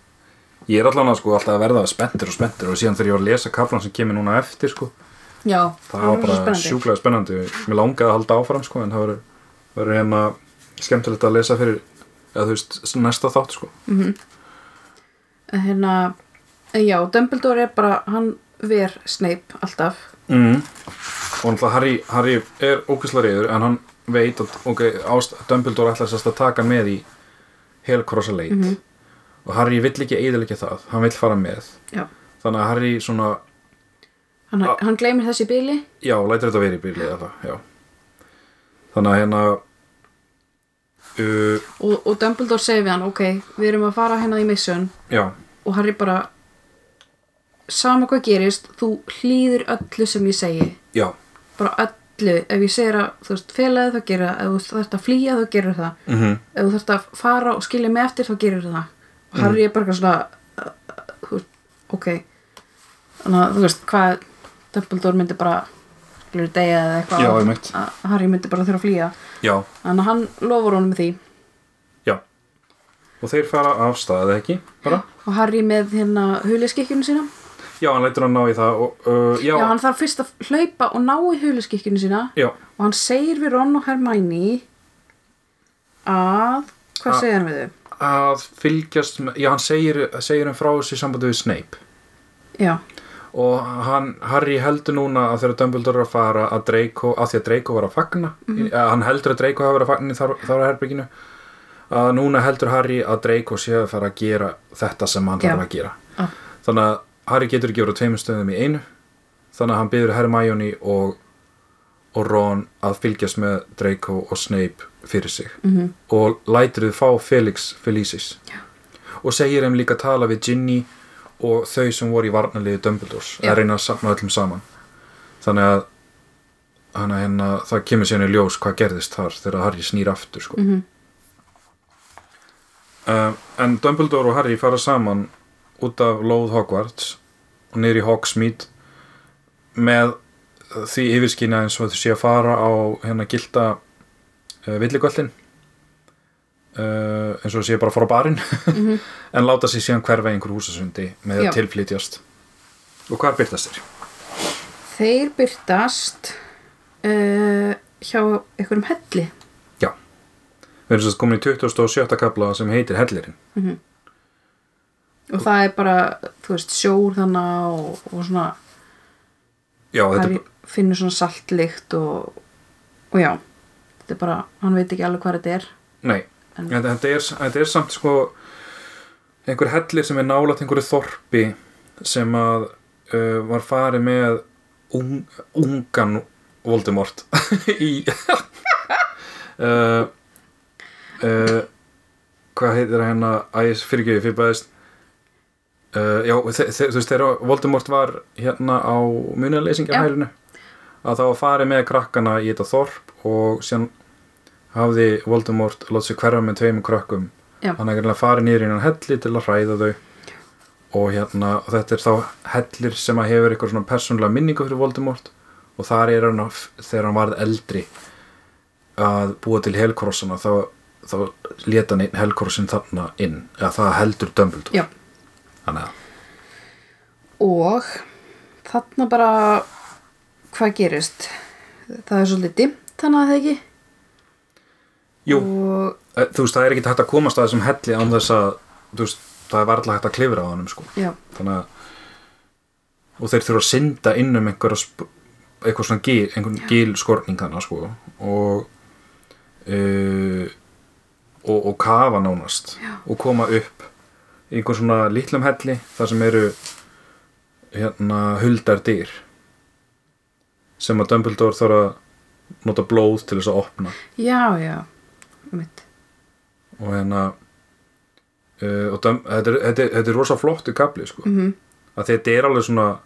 B: ég er allan að sko alltaf að verða spenntur og spenntur og síðan þegar ég var að lesa kaflan sem kemur núna eftir sko,
A: já,
B: það var
A: svo
B: bara
A: spennandi.
B: sjúklega spennandi mér langaði að halda áfram sko, en það verður- verður hérna skemmtilegt að lesa fyrir eða þú veist, næsta þátt sko
A: Mhm. En hérna, já, Dumbledore er bara, hann ver Snape alltaf
B: mm. og náttúrulega Harry, Harry er ókvæslega reyður en hann veit að okay, ást, Dumbledore ætlar sérst að taka hann með í helkrossa leit
A: Mhm.
B: og Harry vill ekki eiðilegja það, hann vill fara með
A: Já,
B: þannig að Harry svona
A: hann,
B: Ah.
A: hann gleymir þessi bíli
B: já, lætur þetta vera í bíli alveg, já. þannig að hérna uh,
A: og, og Dumbledore segir við hann, ok, við erum að fara hérna í mission
B: já,
A: og Harry bara sama hvað gerist, þú hlýðir öllu sem ég segi
B: já
A: bara öllu, ef ég segir að þú veist felaði þá gerir það, ef þú þarft að flýja þá gerir það,
B: mm
A: ef þú þarft að fara og skilja mig eftir þá gerir það og
B: Mhm.
A: Harry er bara eitthvað svona uh, uh, þú veist, ok þannig að þú veist hvað Dumbledore myndi bara skilur degja eða eitthvað
B: Já,
A: að-
B: einmitt.
A: að Harry myndi bara þurfa að flýja
B: já,
A: þannig að hann lofur honum því
B: já og þeir fara af stað eða ekki bara,
A: og Harry með hérna huliskikkjunu sína
B: já, hann lætur hann ná í það og, uh, já,
A: já, hann þarf fyrst að hlaupa og ná í huliskikkjunu sína
B: já,
A: og hann segir við Ron og Hermione að hvað
B: Að-
A: segir hann við þau?
B: að fylgjast með, já, hann segir, segir um frá þessu í sambandi við Snape
A: já,
B: og hann, Harry heldur núna að þegar Dumbledore er að fara að Draco að því að Draco var að fagna mm
A: Mhm.
B: hann heldur að Draco hafa verið að fagna í þar, þar herbygginu að núna heldur Harry að Draco sé að fara að gera þetta sem hann
A: Já.
B: þarf að gera
A: Já.
B: þannig að Harry getur ekki verið á tveimur stöðum í einu þannig að hann byður Hermione og, og Ron að fylgjast með Draco og Snape fyrir sig -hmm.
A: Mhm.
B: og lætur þau fá Felix Felicis Já. og segir þeim líka að tala við Ginny og þau sem voru í varnarliði Dumbledores
A: Já.
B: að reyna að safna öllum saman þannig að þannig að hérna, það kemur sérna í ljós hvað gerðist þar þegar Harry snýr aftur sko. mm en Dumbledore og Harry fara saman út af lóð Hogwarts og niður í Hogsmeade með því yfirskina eins og þau sé að fara á hérna gilda uh, villigöllin uh, eins og þau sé bara að fara á barinn en láta sig síðan hverfa í einhver húsasundi með
A: Já.
B: að tilflytjast og hvað byrtast þér?
A: þeir byrtast uh, hjá einhverjum helli
B: Já, við erum svo komin í 27. kapla sem heitir Hellirinn
A: og það er bara, þú veist, sjór þannig og, og svona
B: Já, þetta
A: Harry finnur svona saltlykt og, og já þetta er bara, hann veit ekki alveg hvað þetta er
B: Nei,
A: En-
B: þetta, þetta, er, þetta er samt sko einhver hellir sem er nálægt einhverju þorpi sem að uh, var farið með un, ungan Voldemort í uh, uh, hvað heitir hérna æs fyrirgjöfi fyrir bæðist uh, já, þe þe þú veist þegar Voldemort var hérna á munaleysingahælinu að það var farið með krakkana í þetta þorp og síðan hafði Voldemort látt sig hverfa með tveimur krökkum
A: Já.
B: hann er greinlega farið niður innan helli til að hræða þau og hérna og þetta er þá hellir sem að hefur eitthvað svona persónulega minningu fyrir Voldemort og þar er hann af, þegar hann varð eldri að búa til helkrossana þá, þá leta hann einn helkrossin þarna inn eða það heldur Dumbledore
A: já,
B: þannig að
A: og þarna bara hvað gerist það er svolítið dimmt þannig að það ekki
B: Jú,
A: og
B: eh, þú veist, það er ekki hægt að komast að þessum helli án þess að, þú veist, það er varla hægt að klifra á honum, sko
A: já,
B: þannig að og þeir þurfa að synda inn um einhverja sp- eitthvað svona gil, einhvern gilskorning þannig sko og uh, og, og kafa nánast Já. og koma upp í einhver svona litlum helli þar sem eru hérna huldar dýr sem að Dumbledore þarf að nota blóð til þess að opna
A: já, já mitt,
B: og hérna uh, og döm, þetta, er, þetta, er, þetta er rosa flottu kapli sko. mm
A: Mhm.
B: -hmm. að þetta er alveg svona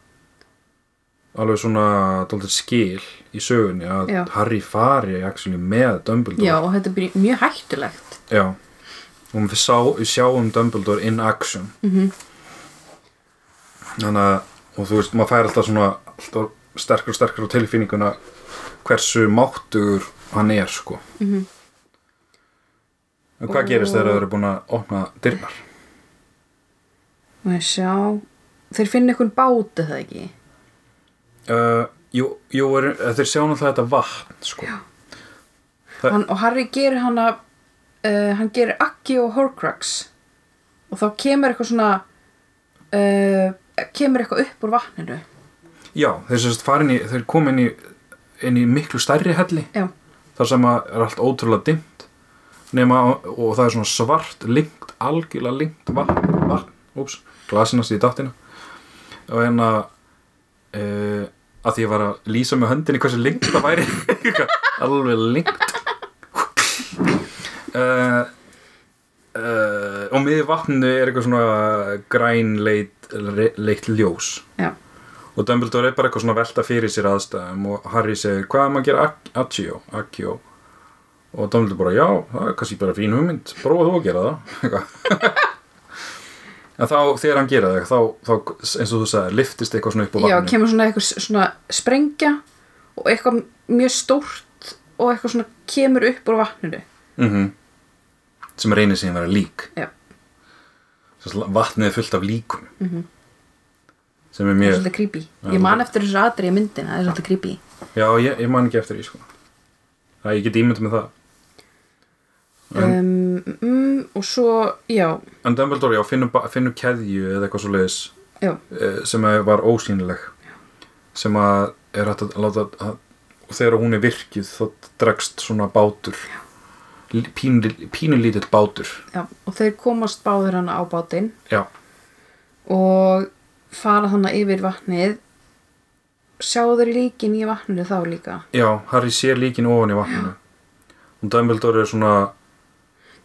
B: alveg svona dálítið skil í sögunni að
A: Já.
B: Harry fari actually, með Dumbledore
A: já og þetta er bara mjög hættulegt
B: Já. og við, sá, við sjáum Dumbledore in action -hmm. þannig að og þú veist, maður fær alltaf svona alltaf sterkur og sterkur á tilfinninguna hversu máttugur hann er sko mm -hmm. hvað gerist þegar þeir eru búin að opna dyrnar
A: Má ég sjá Þeir finna einhvern bát eða ekki
B: uh, jú, jú er, eh, þeir sjá náttúrulega þetta vatn sko Það-
A: hann, Og Harry gerir hann að uh, Hann gerir Akki og Horcrux Og þá kemur eitthvað svona uh, Kemur eitthvað upp úr vatninu
B: já, þeir sérst farin í þeir kom inn í, inn í miklu stærri helli
A: Já,
B: þar sem að er allt ótrúlega dimmt nema og það er svona svart lingt, algjörlega lingt vatn, vatn, úps, glasinast í dattina og en að e, að því ég var að lýsa með höndinni hversu lingt það væri alveg lingt e, e, og miður vatninu er eitthvað svona græn leit, leitt ljós
A: já,
B: og Dumbledore er bara eitthvað svona að velta fyrir sér aðstæðum og Harry segir hvað er maður að gera Ac- Accio, Accio og Dumbledore bara já, það er kannski bara fín hugmynd prófa þú að gera það Eitthvað. en þá þegar hann gera það þá, þá eins og þú sagði, liftist eitthvað svona upp á
A: já
B: vatninu
A: kemur svona eitthvað s- svona sprengja Og eitthvað mjög stórt Og eitthvað svona kemur upp úr vatninu
B: Mhm. sem reynir síðan að vera lík
A: Já,
B: Sem sagt, vatnið er fullt af líkum sem er
A: Mhm. það er
B: mjög
A: svolítið creepy Ég man eftir þessu aðri í myndina, það er svolítið creepy
B: já, ég, ég man ekki eftir því sko. það ég get ímynd með það
A: um, mm, Og svo, já,
B: en Dumbledore, já, finnur, ba- finnur keðju eða eitthvað svo leiðis
A: já,
B: eh, sem að var ósýnileg sem að er hægt að láta að, og þegar hún er virkið þá dregst svona bátur L- pínu- pínulítill bátur
A: já Og þeir komast báður hana á bátinn
B: já,
A: og fara þannig yfir vatnið sjá þeir líkin í vatninu þá líka
B: já, Harry sér líkin ofan í vatninu og Dumbledore er svona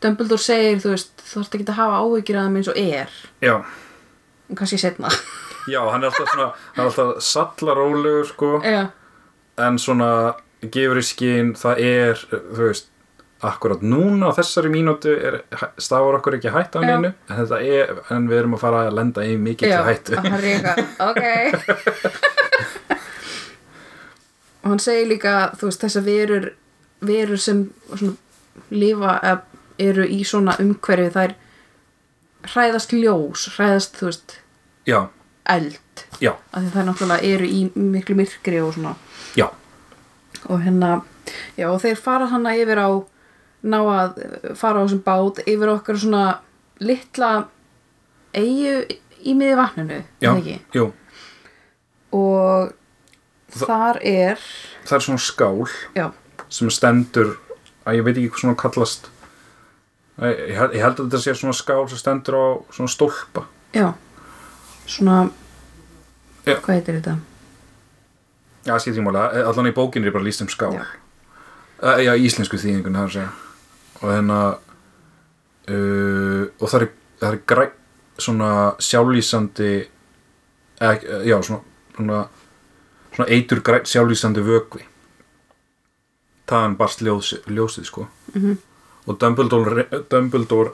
A: Dumbledore segir, þú veist, þú þarft ekki að hafa áhyggjur að þeim eins og er
B: já,
A: en kannski setna
B: já, hann er alltaf svona hann er alltaf sallarólegur sko
A: já,
B: en svona gefur í skinn það er, þú veist akkurat núna á þessari mínútu er, stafar okkur ekki hætt á
A: Já.
B: neinu en, þetta er, en við erum að fara að lenda í mikið
A: já,
B: til hættu
A: að hann reyka ok og hann segir líka þú veist, þessar verur verur sem svona, lifa eða eru í svona umhverfi þær hræðast ljós hræðast, þú veist,
B: Já,
A: eld
B: já,
A: af því það náttúrulega eru í miklu myrkri og svona
B: já,
A: og hérna, já og þeir fara hana yfir á ná að eh, fara á þessum bát yfir okkar svona litla eigu í miði vatninu er
B: já,
A: það ekki?
B: jú,
A: og þar er
B: það er svona skál
A: já,
B: sem stendur, að ég veit ekki hvað svona kallast Æ, ég, held- ég held að þetta sé svona skál sem stendur á svona stólpa
A: já svona
B: Já.
A: hvað heitir þetta?
B: Já, skil ekki mála, allan í bókinni er bara líst um skál
A: Já.
B: Já, Eh, já í íslensku þýðingun, það er að segja og hérna uh, og það er, það er græ, svona sjálflýsandi ek, já, svona svona, svona eitur græ, sjálflýsandi vökvi þaðan barst ljós, ljósið, sko -hmm. og Dumbledore, Dumbledore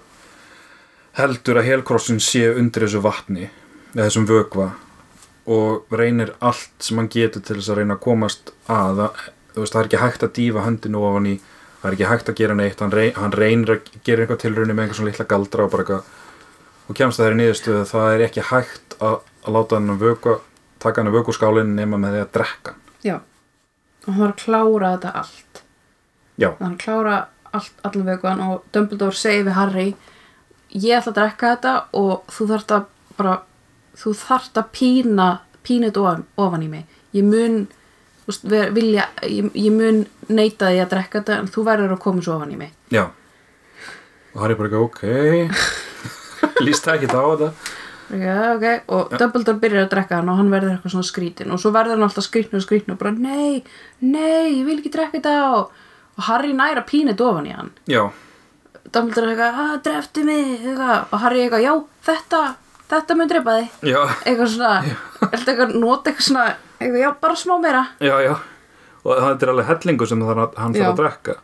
B: heldur að helkrossin sé undir þessu vatni eða þessum vökva og reynir allt sem hann getur til þess að reyna að komast að að- þú veist, það er ekki hægt að dýfa höndinu ofan í það er ekki hægt að gera neitt hann, rey, hann reynir að gera eitthvað tilraunir með einhver svona litla galdra og bara eitthvað og kemst að þeirri niðurstöðu að það er ekki hægt að, að láta hann að vöku taka hann að vöku skálinn nema með því að drekka hann
A: já, og hann var að klára þetta allt
B: já,
A: hann var að klára allt allan vökuðan og Dumbledore segir við Harry ég ætla að drekka þetta og þú þarft að bara þú þarft að pína pína þetta ofan, ofan í mig ég mun þú veist, ver, vilja, ég, ég mun neita því að drekka þetta en þú verður að koma svo ofan í mig
B: já og það er bara eitthvað, ok líst það ekki þá á þetta
A: Já, ok, og Dumbledore byrjar að drekka hann og hann verður eitthvað svona skrítin og svo verður hann alltaf skrítinu og skrítinu og bara nei, nei, ég vil ekki drekka þetta og, og Harry næra pína þetta ofan í hann
B: já,
A: Dumbledore er eitthvað, að drefti mig eitthvað. og Harry er eitthvað, já, þetta þetta mun drepa þig
B: já,
A: eitthvað svona, eitthvað eitthvað nota eitthvað svona eitthvað, já, bara smá meira
B: já, já og það er alveg hellingu sem það, hann þarf
A: Já.
B: að drekka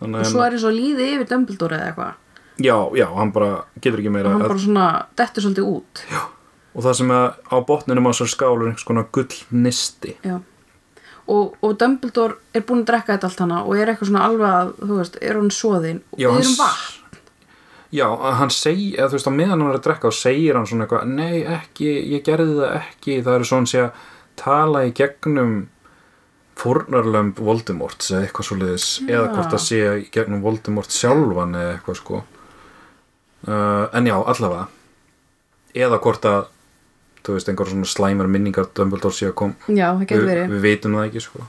B: Þannig,
A: og
B: að-
A: svo er eins og líði yfir Dumbledore eða eitthvað
B: Já, já, hann bara getur ekki meira
A: og hann
B: að,
A: bara svona, dettur svolítið út já.
B: og það sem er á botninum á svo skálur einhvers konar gullnisti
A: Já. og, og Dumbledore er búin að drekka þetta allt hana og er eitthvað svona alveg að, þú veist, er hún svoðin og
B: Já,
A: við
B: hann
A: erum
B: s-
A: vatn
B: Já, að hann segir, eða þú veist, á meðan hann er að drekka og segir hann svona eitthvað, nei, ekki, ég gerði það ekki, það eru svona sé að tala í gegnum fórnarlömb Voldemort eða eitthvað svoleiðis, eða hvort það sé í gegnum Voldemort sjálfan eða eitthvað sko uh, en já, allavega eða hvort að þú veist, einhver svona slæmar minningar Dumbledore sé að kom,
A: Já, það getur
B: við,
A: verið
B: við vitum það ekki sko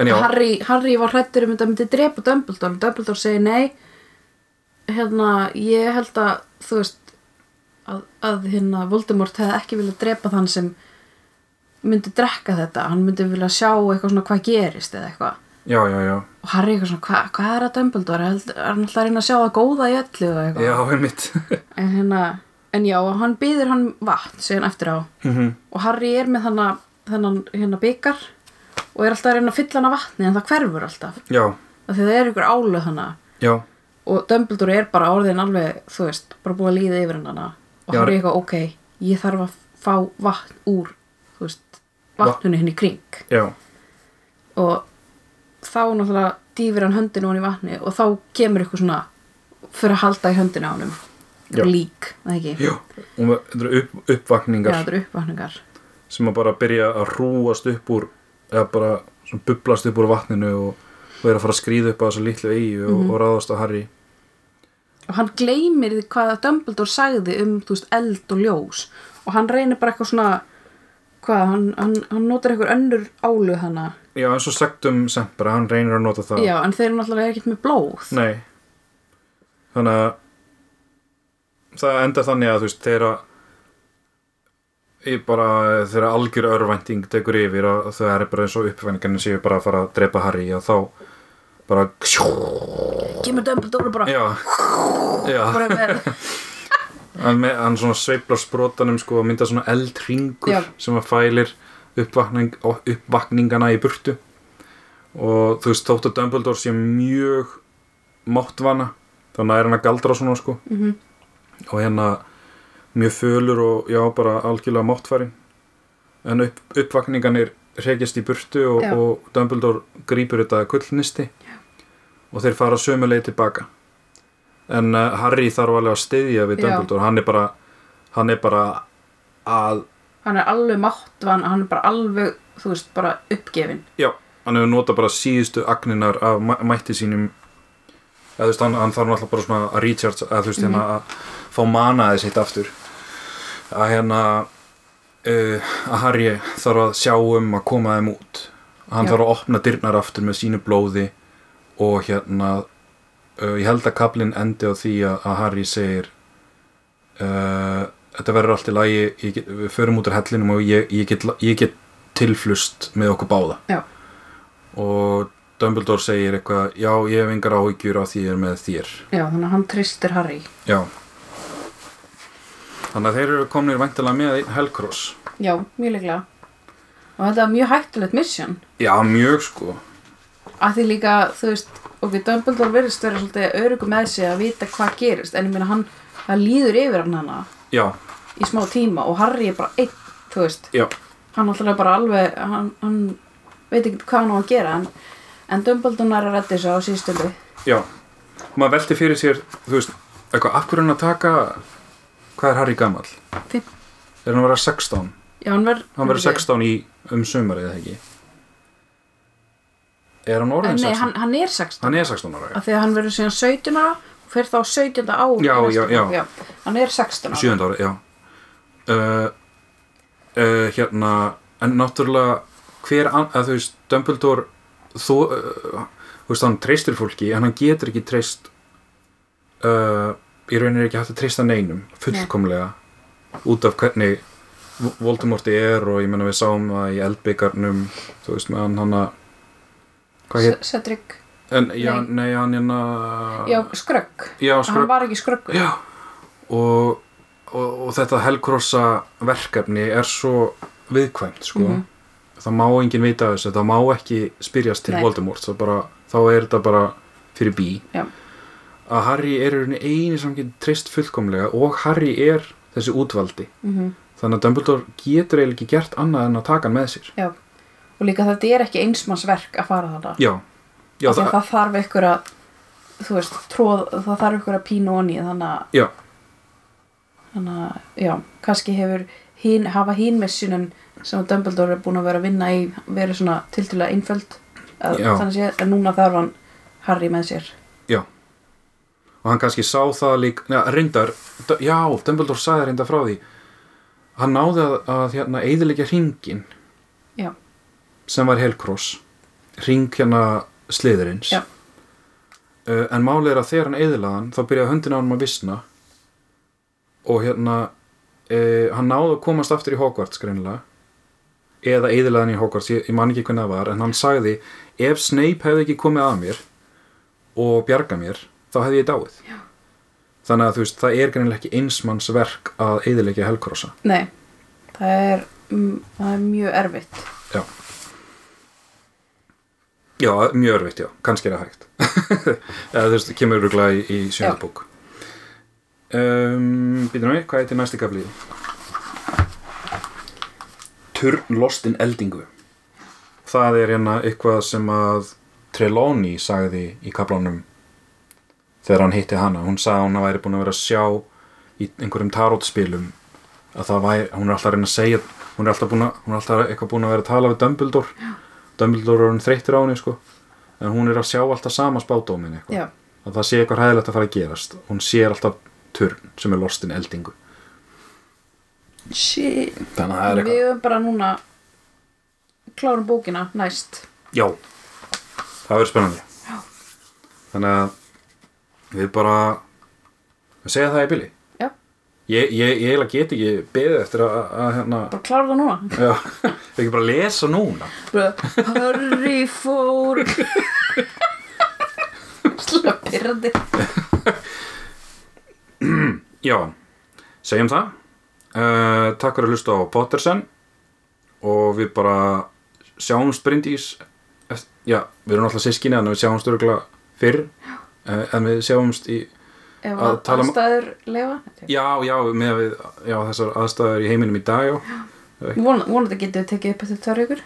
B: en já,
A: Harry, Harry var hrættur um þetta myndi drepa Dumbledore en Dumbledore segi nei hérna, ég held að þú veist að, að hérna Voldemort hefði ekki viljað drepa þann sem myndi drekka þetta hann myndi vilja sjá eitthvað svona hvað gerist eða eitthvað
B: já, já, já
A: og Harry eitthvað svona, hva, hvað er að Dumbledore Held- er hann alltaf að reyna að sjá það góða í öllu eða eitthvað
B: já, einmitt
A: en hérna en já, hann býður hann vatn síðan eftir á
B: Mhm.
A: og Harry er með þennan, þennan hérna byggar og er alltaf að reyna að fylla hann af vatni en það hverfur alltaf
B: já,
A: af því það er ykkur álöð hana
B: já,
A: og Dumbledore er bara orðin alveg þú veist, bara búið að líða yfir hann hana og
B: Já,
A: Harry
B: re-
A: eitthvað, ok, ég þarf að fá vatn úr þú veist, vatnunni henni kring
B: já
A: og þá náttúrulega dýfir hann höndinu hann í vatni og þá kemur ykkur svona fyrir að halda í höndinu á honum
B: Já.
A: lík, það ekki
B: Já, og það- þetta eru upp,
A: Já,
B: uppvakningar
A: þetta eru uppvakningar
B: sem að bara byrja að rúast upp úr eða bara svona bublast upp úr vatninu og, og er að fara að skrýða upp á þessu litlu eigi og,
A: Mhm.
B: og ráðast á Harry
A: og hann gleymir því hvað að Dumbledore sagði um þú veist, eld og ljós og hann reynir bara eitthvað svona hvað, hann, hann, hann notar eitthvað önnur álu hana
B: Já, eins og sagt um Sempra, hann reynir að nota það
A: já, en þeir eru náttúrulega ekkert með blóð
B: Nei Þannig að það enda þannig að þú veist þeirra ég bara þeirra algjör örvænting tekur yfir að það er bara eins og uppvæningin séu bara að fara að drepa Harry og þá bara
A: kemur Dumbledore bara,
B: Já, já.
A: bara með,
B: hann, með, hann svona sveiflar sprótanum sko og mynda svona eldringur
A: Já.
B: sem að fælir uppvakning, uppvakningana í burtu og þú veist þótt að Dumbledore sé mjög máttvana þannig er hann að galdra svona sko
A: Mhm.
B: og hérna mjög fölur og já bara algjörlega máttfærin en upp, uppvakninganir hrekjast í burtu og,
A: Já.
B: og Dumbledore grýpur þetta kullnisti já. og þeir fara sömu leið tilbaka en uh, Harry þarf alveg að styðja við
A: Já.
B: Dumbledore hann er bara hann er bara að
A: hann er alveg máttvan hann er bara alveg, þú veist, bara uppgefin
B: já, hann hefur notað bara síðustu agninar af mæ mætti sínum eða þú veist, hann, hann þarf náttúrulega bara svona að recharge, eða þú veist, hérna að fá manaði sitt aftur að hérna uh, að Harry þarf að sjá um að koma þeim út hann
A: Já.
B: þarf að opna dyrnar aftur með sínu blóði og hérna uh, ég held að kaplinn endi á því að, að Harry segir uh, þetta verður allt í lagi ég get, við förum út úr hellinum og ég, ég, get, ég get tilflust með okkur báða
A: Já.
B: og Dumbledore segir eitthvað já, ég hef engar áhyggjur á því ég er með þér
A: já, þannig að hann tristir Harry
B: já þannig að þeir eru komnir væntalega með einn Helcross
A: já, mjög líklega og þetta var mjög hættulegt mission
B: já, mjög sko
A: að því líka, þú veist ok, Dumbledore verðist vera svolítið örugum með sig að vita hvað gerist, en ég meina hann það líður yfir hann hana
B: já,
A: í smá tíma og Harry er bara einn, þú veist
B: já,
A: hann alltaf bara alveg, hann, hann veit ekki hvað hann á að gera en, en Dumbledore nær að redda þessu á síðstölu
B: já maður velti fyrir sér, þú veist eitthvað, af hverju er hann að taka hvað er Harry gamall?
A: Fimm.
B: er hann að vera 16?
A: já, hann verður
B: hann verður 16 í um sumarið eða ekki er hann orðin
A: Eh, nei,
B: 16?
A: hann, hann er 16
B: hann er 16 ára,
A: af því að hann verður síðan 17 ára og fyrir þá 17 ára
B: Já, já, já.
A: hann er 16
B: já,
A: ára
B: 7 ára, já uh, uh, hérna en náttúrulega hver, an- að þú veist, Dumbledore þú, uh, þú veist, hann treystir fólki en hann getur ekki treyst uh, í rauninni er ekki hægt að treysta neinum, fullkomlega út af hvernig Vo- Voldemort er og ég menna við sáum það í eldbyggarnum, þú veist, með hann hann að hvað hétt
A: S- Cedric,
B: En, já,
A: Nei.
B: nei, hann hérna
A: já, skrögg
B: já
A: hann
B: skröp
A: var ekki skröggur
B: Já, og, og, og þetta helkrossa verkefni er svo viðkvæmt, sko
A: Mhm.
B: Það má enginn vita af þessu, það má ekki spyrjast til
A: Nei.
B: Voldemort það bara, Þá er þetta bara fyrir bí
A: Já.
B: Að Harry er í rauninni eini sem getur treyst fullkomlega og Harry er þessi útvaldi
A: Mhm.
B: Þannig að Dumbledore getur eiginlega ekki gert annað en að taka hann með sér
A: Já, og líka þetta er ekki einsmannsverk að fara þarna
B: já, já,
A: það,
B: það,
A: það þarf ykkur að þú veist, tróð, það þarf ykkur að pínu onni þannig að,
B: já,
A: þannig að, já, kannski hefur hín, hafa hín messunin sem Dumbledore er búin að vera að vinna í verið svona tiltölulega einföld að,
B: Já.
A: þannig sé, en núna þarf hann Harry með sér
B: já og hann kannski sá það líka neða, reyndar, D- já, Dumbledore sagði reyndar frá því hann náði að, að hérna, eðilegja hringin
A: já,
B: sem var Helcross hring hérna sliðurins
A: Já.
B: uh, en málið er að þegar hann eðilaði hann þá byrjaði höndin á hann að visna og hérna uh, hann náði að komast aftur í Hogwarts greinilega eða eðilaði hann í Hogwarts ég, ég man ekki hvernig það var en hann sagði ef Snape hefði ekki komið að mér og bjarga mér þá hefði ég dáið Já. þannig að þú veist það er greinilega ekki einsmannsverk að eðilegja Helcrossa
A: nei það er, mm, það er mjög erfitt
B: Já Já, mjög örfitt, já, kannski er það hægt eða þú veist, kemur rúglega í, í
A: Já.
B: sjöndabók um, Býtum við, hvað heitir næsti kaflið? Turn lostin eldingu Það er hérna eitthvað sem að Trelawney sagði í kaflanum þegar hann hitti hana hún sagði að hún væri búin að vera að sjá í einhverjum tarotspilum að það væri, hún er alltaf að reyna að segja hún er alltaf, búin að, hún er alltaf eitthvað búin að vera að tala við Dumbledore Já. Dumbledore er hún þreyttir á henni sko en hún er að sjá alltaf sama spátdómin eitthvað
A: já,
B: að það sé eitthvað hæðilegt að fara að gerast hún sér alltaf turn sem er lostin eldingu
A: shit
B: þannig að það er
A: við
B: eitthvað
A: höfum bara núna klárum bókina næst
B: já, það verður spennandi já. þannig að við bara við segja það í bili
A: já,
B: ég, ég, ég eiginlega get ekki beðið eftir að, að hérna
A: bara klárum það núna
B: já, ekki bara lesa núna
A: bara, Harry fór Slega pyrrandi
B: já, segjum það uh, takk fyrir að hlusta á Pottersen og við bara sjáumst Bryndís eft- já, við erum alltaf sískinni en við sjáumst örgulega fyrr uh, en við sjáumst í
A: Ef
B: Að
A: að
B: tala um-
A: aðstæður lefa
B: Já, já, með við, já, þessar aðstæður í heiminum í dag já.
A: Von- Vonandi getum við tekið upp eftir tvær ykkur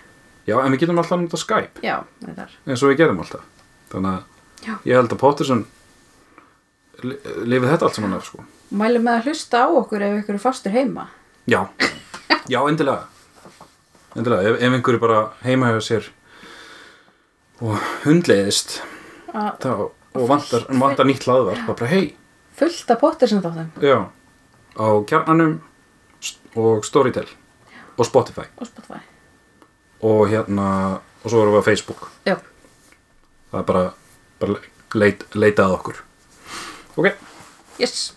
B: já, en við getum alltaf nota Skype
A: Já, þetta er
B: eins og við gerum alltaf þannig að
A: Já.
B: ég held að Potterson li- lifið þetta allt saman af sko.
A: Mælum með að hlusta á okkur ef ykkur er fastur heima
B: Já, já, endilega endilega, ef, ef einhverju bara heima hefur sér og hundleiðist
A: að
B: þá, og vantar, vantar nýtt hlaðvarp þá bara hei,
A: fullta pottir sem þáttum
B: já á kjarnanum s- og Storytel og Spotify
A: og Spotify
B: og hérna, og svo erum við á Facebook
A: Já,
B: það er bara, bara leit, leitað okkur ok,
A: yes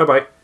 B: bye bye